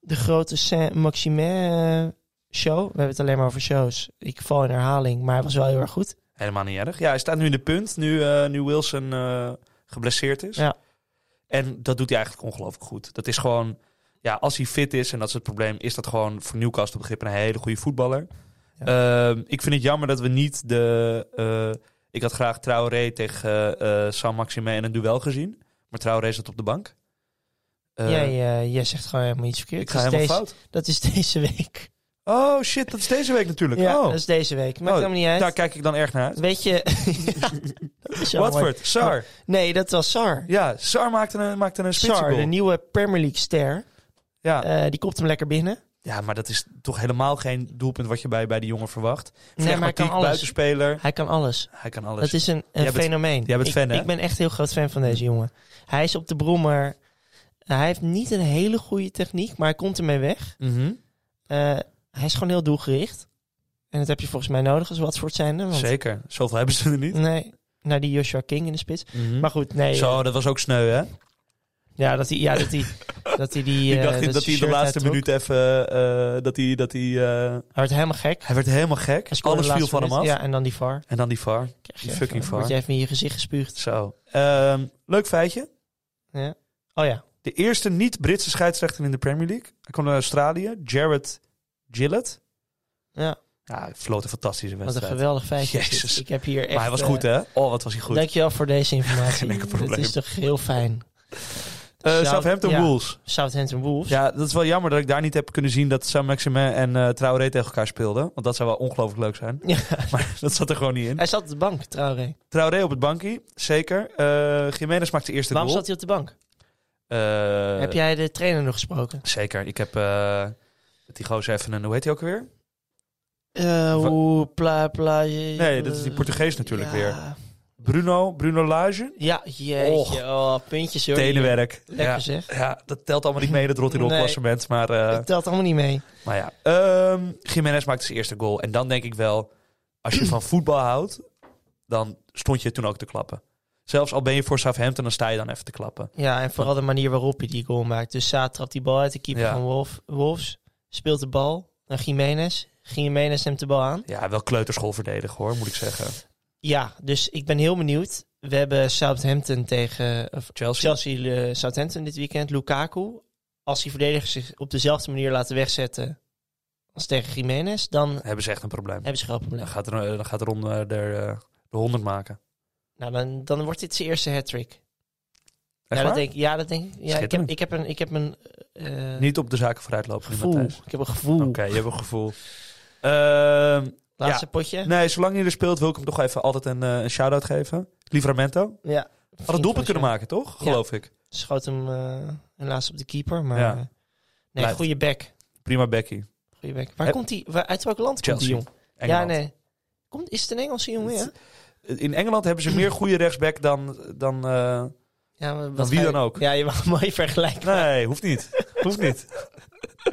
de grote Saint-Maximin-show. We hebben het alleen maar over shows. Ik val in herhaling, maar hij was wel heel erg goed. Helemaal niet erg. Ja, hij staat nu in de punt, nu, eh, nu Wilson eh, geblesseerd is. Ja. En dat doet hij eigenlijk ongelooflijk goed. Dat is gewoon, ja, als hij fit is, en dat is het probleem, is dat gewoon voor Newcastle begrip een hele goede voetballer. Ehm, ik vind het jammer dat we niet de eh, Ik had graag Traoré tegen eh, eh, San Maxime in een duel gezien. Maar Traoré zat op de bank. Eh, jij, eh, jij zegt gewoon helemaal iets verkeerd. ik ga Dat is helemaal deze, fout. Dat is deze week. Oh shit, dat is deze week natuurlijk. Ja, oh. dat is deze week. Maakt Oh, helemaal niet uit. Daar kijk ik dan erg naar uit. Weet je... Ja, dat is jammer. Watford, Sar. Nee, dat was Sar. Ja, Sar maakte een, maakte een Sar, de spitsengoal. nieuwe Premier League ster. Ja. Eh, die kopt hem lekker binnen. ja, maar dat is toch helemaal geen doelpunt wat je bij, bij die jongen verwacht. Nee, maar hij kan Flegmatiek, alles. buitenspeler. Hij kan alles. Hij kan alles. Dat is een, een Jij bent- fenomeen. jij bent ik, fan, hè? Ik ben echt heel groot fan van deze jongen. Hij is op de brommer. Hij heeft niet een hele goede techniek, maar hij komt ermee weg. Mhm. Eh, hij is gewoon heel doelgericht. En dat heb je volgens mij nodig als Watford zijnde. Want, Zeker. Zoveel hebben ze er niet. Nee, nou die Joshua King in de spits. Mhm. Maar goed, nee. eh, Zo, dat was ook sneu, hè? Ja, dat hij ja, dat hij dat hij die... ik eh, dacht dat, hij zijn in de shirt laatste uittrok. minuut even... eh, dat hij... Dat hij, eh, Hij werd helemaal gek. hij werd helemaal gek. Hij scoorde Alles de viel laatste van hem af. minuut. Ja, en dan die VAR. En dan die VAR. Krijg Die je fucking even- VAR. Word je even in je gezicht gespuugd. Zo. Ehm, leuk feitje. Ja. Oh ja. De eerste niet-Britse scheidsrechter in de Premier League. Hij komt uit Australië. Jared Gillett. Ja, Ja, hij floot een fantastische wat een wedstrijd. geweldig feitje. Jezus. Ik heb hier echt... maar hij was eh, goed, hè? Oh, wat was hij goed. Dankjewel voor deze informatie. Geen enkel Het probleem. is toch heel fijn. Eh, South- Southampton ja. Wolves. Southampton Wolves. Ja, dat is wel jammer dat ik daar niet heb kunnen zien dat Sam Maximin en eh Traoré tegen elkaar speelden. Want dat zou wel ongelooflijk leuk zijn. Ja. Maar dat zat er gewoon niet in. Hij zat op de bank, Traoré. Traoré op het bankje, zeker. Eh Jiménez maakt de eerste Waarom goal. zat hij op de bank? Eh, Heb jij de trainer nog gesproken? Zeker. Ik heb eh met die gozer even een... Hoe heet hij ook weer? Eh Wa- hoe pla pla... Nee, dat is die Portugees natuurlijk ja. weer. Bruno, Bruno Lage. Ja, jeetje. Oh, puntjes hoor. Tenenwerk. Lekker Ja. zeg. ja, dat telt allemaal niet mee, dat rot in Nee. klassement. Maar, eh, Dat telt allemaal niet mee. maar ja. Ehm Jiménez maakt zijn eerste goal. En dan denk ik wel, als je van voetbal houdt, dan stond je toen ook te klappen. Zelfs al ben je voor Southampton, dan sta je dan even te klappen. Ja, en vooral de manier waarop je die goal maakt. Dus Saad trapt die bal uit de keeper Ja. van Wolf, Wolves. Speelt de bal naar Jiménez. Jiménez neemt de bal aan. Ja, wel kleuterschool verdedigen hoor, moet ik zeggen. Ja, dus ik ben heel benieuwd. We hebben Southampton tegen of Chelsea. Chelsea eh, Southampton dit weekend. Lukaku, als die verdedigers zich op dezelfde manier laten wegzetten als tegen Jiménez, dan Hebben ze echt een probleem. hebben ze groot probleem. Dan gaat, er, dan gaat Ron eh, er eh, de 100 maken. Nou, dan, dan wordt dit zijn eerste hat-trick. Echt Ja, dat waar? denk ik. Ja, dat denk ik. Ja, ik, heb, Schitterend. ik heb een, ik heb een eh, Niet op de zaken vooruitlopen. nu, gevoel. Matthijs. Ik heb een gevoel. Oké, je hebt een gevoel. Ehm, Laatste potje. nee, zolang je er speelt wil ik hem toch even altijd een, eh, een shout-out geven. Livramento. Ja. Had een doelpunt kunnen maken, toch? Ja. Geloof ik. Schoot hem eh, helaas op de keeper, maar... Ja. eh, nee, Blijft. goede back. Prima Becky. Goede back. Waar Heb- komt die? waar- Uit welk land komt die Chelsea. jong? Engeland. Ja, nee. Komt, is het een Engelse jongen, ja? In Engeland hebben ze meer goede rechtsback dan... dan eh, ja maar wat Dan wie ga je- dan ook. Ja, je mag mooi vergelijken. Nee, hoeft niet. hoeft niet.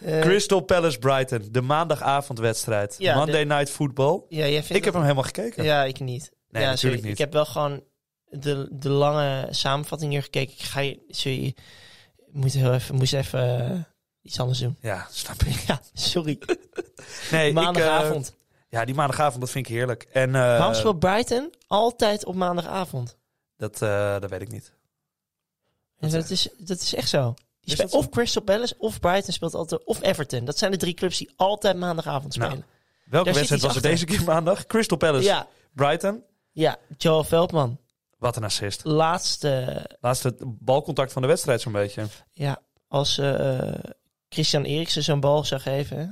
Eh, Crystal Palace Brighton. De maandagavondwedstrijd. Ja, Monday Night Football. ja, jij vindt Ik heb hem helemaal gekeken. Ja, ik niet. Nee, ja, natuurlijk sorry. niet. Ik heb wel gewoon de, de lange samenvatting hier gekeken. Ik ga je... Sorry. Ik Moet heel even, moest even eh, iets anders doen. Ja, snap ik. Ja, sorry. Nee, ik, eh, maandagavond. ja, die maandagavond, dat vind ik heerlijk. En, eh, Waarom speelt Brighton altijd op maandagavond? dat, eh, dat weet ik niet. En dat- dat, is, dat is echt zo. Die Is spelen dat of Crystal Palace, of Brighton speelt altijd, of Everton. Dat zijn de drie clubs die altijd maandagavond Nou, dus- spelen. Welke Daar zit wedstrijd was iets het achter. deze keer maandag? Crystal Palace. ja, Brighton. ja, Joel Veldman. Wat een assist. Laatste, Laatste balcontact van de wedstrijd zo'n beetje. ja, als eh, Christian Eriksen zo'n bal zou geven, hè,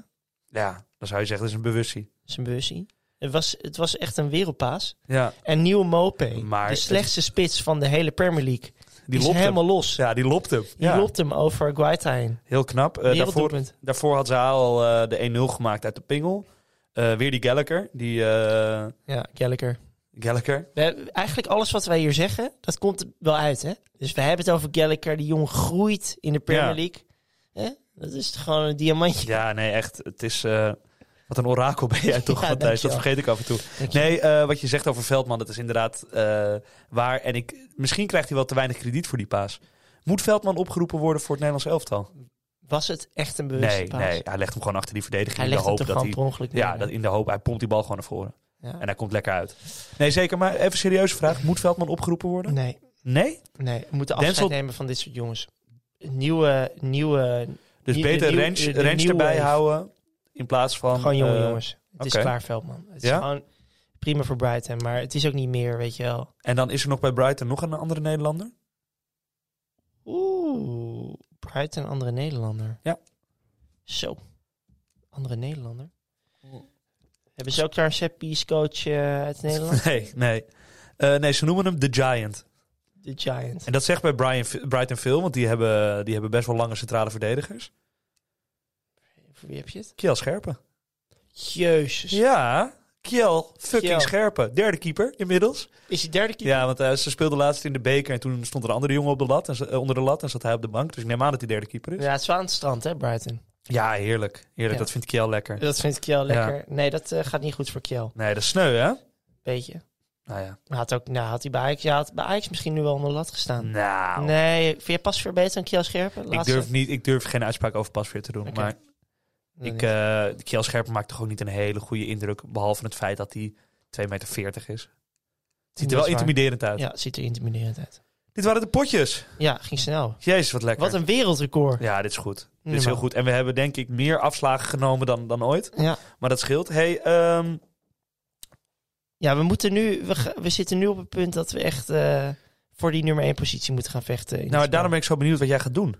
Ja, dan zou je zeggen, dat is een bewustie. zijn beursie. Het was, het was echt een wereldpaas. Ja, En Nieuw Mopé, Maar de het- slechtste spits van de hele Premier League, die is lopt helemaal los. hem. Ja, die lopt hem. Die ja. loopt hem over Guaita heen. Heel knap. Eh, daarvoor, Werelddoelpunt. daarvoor had ze al eh, de 1-0 gemaakt uit de pingel. Eh, weer die Gallagher. Die eh Ja, Gallagher. Gallagher. We hebben- eigenlijk alles wat wij hier zeggen, dat komt er wel uit, hè? Dus we hebben het over Gallagher, die jong groeit in de Premier Ja. League. Hè? Dat is gewoon een diamantje. Ja, nee, echt. Het is... eh, wat een orakel ben jij toch, Ja, Matthijs. Dat dankjewel. vergeet ik af en toe. Dankjewel. Nee, eh, wat je zegt over Veldman, dat is inderdaad eh, waar. En ik, misschien krijgt hij wel te weinig krediet voor die paas. Moet Veldman opgeroepen worden voor het Nederlands elftal? Was het echt een bewuste Nee, paas? nee, hij legt hem gewoon achter die verdediging Hij in de legt hem hoop toch dat gewoon hij... per ongeluk Ja, neer, dat hè? in de hoop. Hij pompt die bal gewoon naar voren. Ja. En hij komt lekker uit. Nee, zeker. Maar even serieus vraag. Moet Veldman opgeroepen worden? Nee, Nee? nee. We moeten Denzel- afscheid nemen van dit soort jongens. Nieuwe, nieuwe, Dus Niet de beter nieuw- range, de- de range nieuwe erbij wave. houden in plaats van... gewoon jonge eh, jongens. Het is oké. klaar, Veldman. Het Ja? is gewoon prima voor Brighton. Maar het is ook niet meer, weet je wel. En dan is er nog bij Brighton nog een andere Nederlander. Oeh, Brighton, andere Nederlander. Ja. Zo, andere Nederlander. Hebben ze ook daar een Seppies coach eh, uit Nederland? Nee, nee. Eh, nee, ze noemen hem The Giant. De Giant. En dat zegt bij Brian, Brighton veel, want die hebben, die hebben best wel lange centrale verdedigers. Voor wie heb je het? Kiel Scherpen. Jezus. Ja, Kiel fucking Kiel. Scherpen. Derde keeper inmiddels. Is die derde keer? Ja, want eh, ze speelde laatst in de beker en toen stond er een andere jongen op de lat en, ze- eh, onder de lat en zat hij op de bank. Dus ik neem aan dat hij derde keeper is. Ja, Ja, het is wel aan het strand, hè, Brighton. heerlijk. Heerlijk, Ja. dat vindt Kiel lekker. Dat vindt Kiel Ja. lekker. Nee, dat eh, gaat niet goed voor Kiel. Nee, dat is sneu, hè? Beetje. Nou ja. Hij Had ook, nou, had hij bij Ajax, ja, had bij Ajax misschien nu wel onder de lat gestaan. Nou, Nee, vind je Pasveer beter dan Kiel Scherpen? ik, Laatste? durf niet, ik durf geen uitspraak over Pasveer te doen. Oké. Maar Dan ik, niet. eh Kiel Scherpen maakt toch ook niet een hele goede indruk. Behalve het feit dat hij 2,40 meter is. Het Dat ziet is er wel waar. intimiderend uit. Ja, ziet er intimiderend uit. Dit waren de potjes. Ja, ging snel. Jezus, wat lekker. Wat een wereldrecord. Ja, dit is goed. Dit Normaal. is heel goed. En we hebben denk ik meer afslagen genomen dan, dan ooit. Ja. Maar dat scheelt. Hey, ehm, Ja, we, moeten nu, we, ga- we zitten nu op het punt dat we echt eh, voor die nummer 1 positie moeten gaan vechten. in het nou, spel. daarom ben ik zo benieuwd wat jij gaat doen.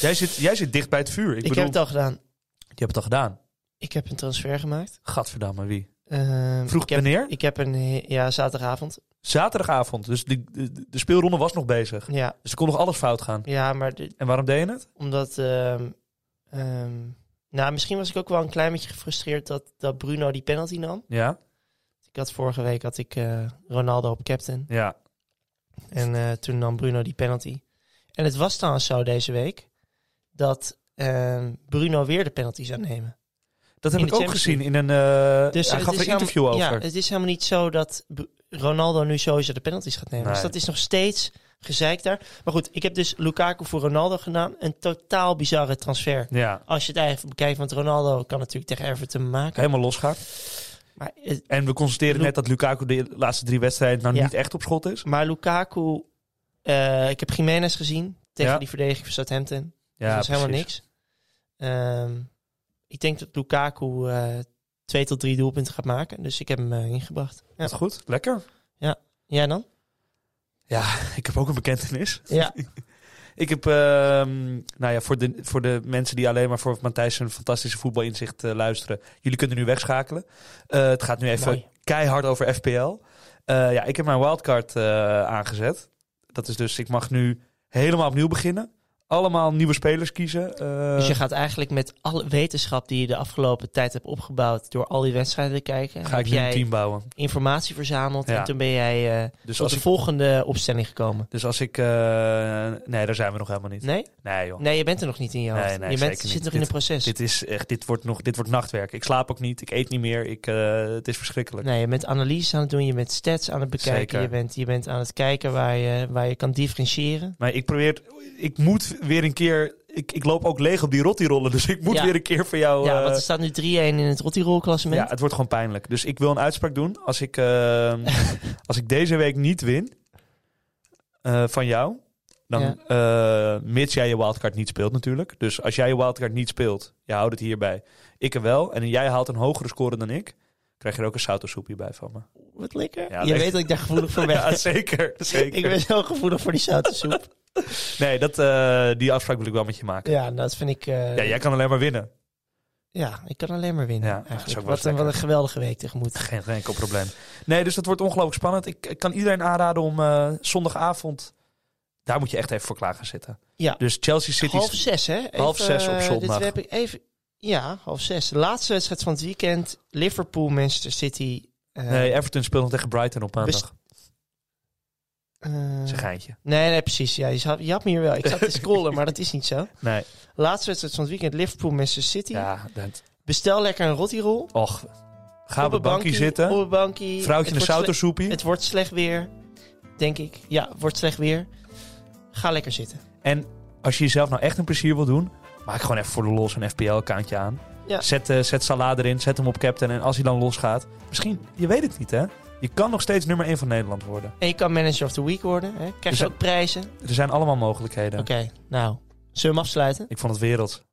Jij zit, jij zit dicht bij het vuur. Ik, Ik, bedoel, heb het al gedaan. je hebt het al gedaan. Ik heb een transfer gemaakt. Gadverdamme, wie? Ehm, Vroeg ik heb, wanneer? ik heb een, he- ja, zaterdagavond. Zaterdagavond. Dus de, de, de speelronde was nog bezig. Ja, Dus er kon nog alles fout gaan. ja maar de- En waarom deed je het? omdat, ehm, ehm, nou, misschien was ik ook wel een klein beetje gefrustreerd dat, dat Bruno die penalty nam. Ja. Ik had vorige week had ik eh, Ronaldo op captain. Ja. En eh, toen nam Bruno die penalty. En het was trouwens zo deze week dat ehm, Bruno weer de penalty zou nemen. Dat heb In ik de ook Champions gezien in een... eh Dus hij het gaf er is een interview helemaal- over. Ja, het is helemaal niet zo dat B- Ronaldo nu sowieso de penalties gaat nemen. Nee. Dus dat is nog steeds gezeik daar. Maar goed, ik heb dus Lukaku voor Ronaldo gedaan. Een totaal bizarre transfer. ja. Als je het eigenlijk bekijkt, want Ronaldo kan natuurlijk tegen Everton maken. Helemaal losgaat. Maar, het- En we constateren Lu- net dat Lukaku de laatste drie wedstrijden nou Ja. niet echt op schot is. maar Lukaku, eh, ik heb Jiménez gezien tegen Ja, die verdediging van Southampton. Ja, dat was helemaal precies. niks. Ehm, ik denk dat Lukaku eh, twee tot drie doelpunten gaat maken. Dus ik heb hem eh, ingebracht. Ja. Dat is goed. Lekker. Jij dan? Ja, ik heb ook een bekentenis. Ja. Ik heb, ehm, nou ja, voor de, voor de mensen die alleen maar voor Matthijs zijn fantastische voetbalinzicht eh, luisteren. Jullie kunnen nu wegschakelen. Eh, het gaat nu even Mooi. keihard over FPL. Eh, ja, ik heb mijn wildcard eh, aangezet. Dat is dus, ik mag nu helemaal opnieuw beginnen. Allemaal nieuwe spelers kiezen. Eh, Dus je gaat eigenlijk met alle wetenschap die je de afgelopen tijd hebt opgebouwd door al die wedstrijden te kijken, ga heb ik nu jij een team bouwen. informatie verzameld Ja. en toen ben jij eh Dus tot als de ik... volgende opstelling gekomen. Dus als ik eh, nee, daar zijn we nog helemaal niet. Nee? Nee, joh. Nee, je bent er nog niet in je Nee, hoofd. nee, je bent, zeker niet. zit nog in Dit- het proces. Dit is echt, dit wordt nog, dit wordt nachtwerk. Ik slaap ook niet, ik eet niet meer, ik, eh, het is verschrikkelijk. Nee, je bent analyses aan het doen, je bent stats aan het bekijken, Zeker. je bent, je bent aan het kijken waar je, waar je kan differentiëren. Maar ik probeer, ik moet weer een keer, ik, ik loop ook leeg op die rollen, dus ik moet Ja. weer een keer voor jou. ja, eh, want er staat nu 3-1 in het Rottirol klassement. ja, het wordt gewoon pijnlijk. Dus ik wil een uitspraak doen. Als ik, eh, als ik deze week niet win eh, van jou, dan eh, mits jij je wildcard niet speelt natuurlijk. Dus als jij je wildcard niet speelt, je houdt het hierbij. Ik er wel, en jij haalt een hogere score dan ik, krijg je er ook een sautosoepje bij van me. Wat lekker. Ja, je nee. weet dat ik daar gevoelig voor ben. Ja, zeker. zeker. ik ben zo gevoelig voor die zoute soep. Nee, dat, eh, die afspraak wil ik wel met je maken. ja, nou, dat vind ik... eh, Ja, jij kan alleen maar winnen. Ja, ik kan alleen maar winnen. Ja, dat is ook eigenlijk. wel Wat een, lekker. wat een geweldige week tegemoet. Geen, geen enkel probleem. Nee, dus dat wordt ongelooflijk spannend. Ik, ik kan iedereen aanraden om eh, zondagavond... Daar moet je echt even voor klaar gaan zitten. Ja. Dus Chelsea City... half zes, hè? Even, Half zes op eh, zondag. Dit heb ik even, ja, half zes. De laatste wedstrijd van het weekend. Liverpool, Manchester City. eh, Nee, Everton speelt nog tegen Brighton op maandag. Best- eh, Dat is een geintje. nee, nee, precies. Ja, je, zat, je had me hier wel. Ik zat te scrollen, maar dat is niet zo. Nee. Laatste wedstrijd van het weekend. Liverpool, Manchester City. Ja, dat... Bestel lekker een rottirol. Och. Ga op een het bankje Op zitten. een bankie. Vrouwtje Het een wordt sle- sautosoepie. Het wordt slecht weer, denk ik. Ja, het wordt slecht weer. Ga lekker zitten. En als je jezelf nou echt een plezier wil doen... Maak gewoon even voor de los een FPL-kaartje aan. Ja. Zet, eh, zet Salah erin, zet hem op captain. En als hij dan losgaat... Misschien, je weet het niet hè. Je kan nog steeds nummer 1 van Nederland worden. En je kan manager of the week worden. Hè? Krijg Dus- je ook prijzen. Er zijn allemaal mogelijkheden. Oké, nou. Zullen we hem afsluiten? Ik vond het wereld.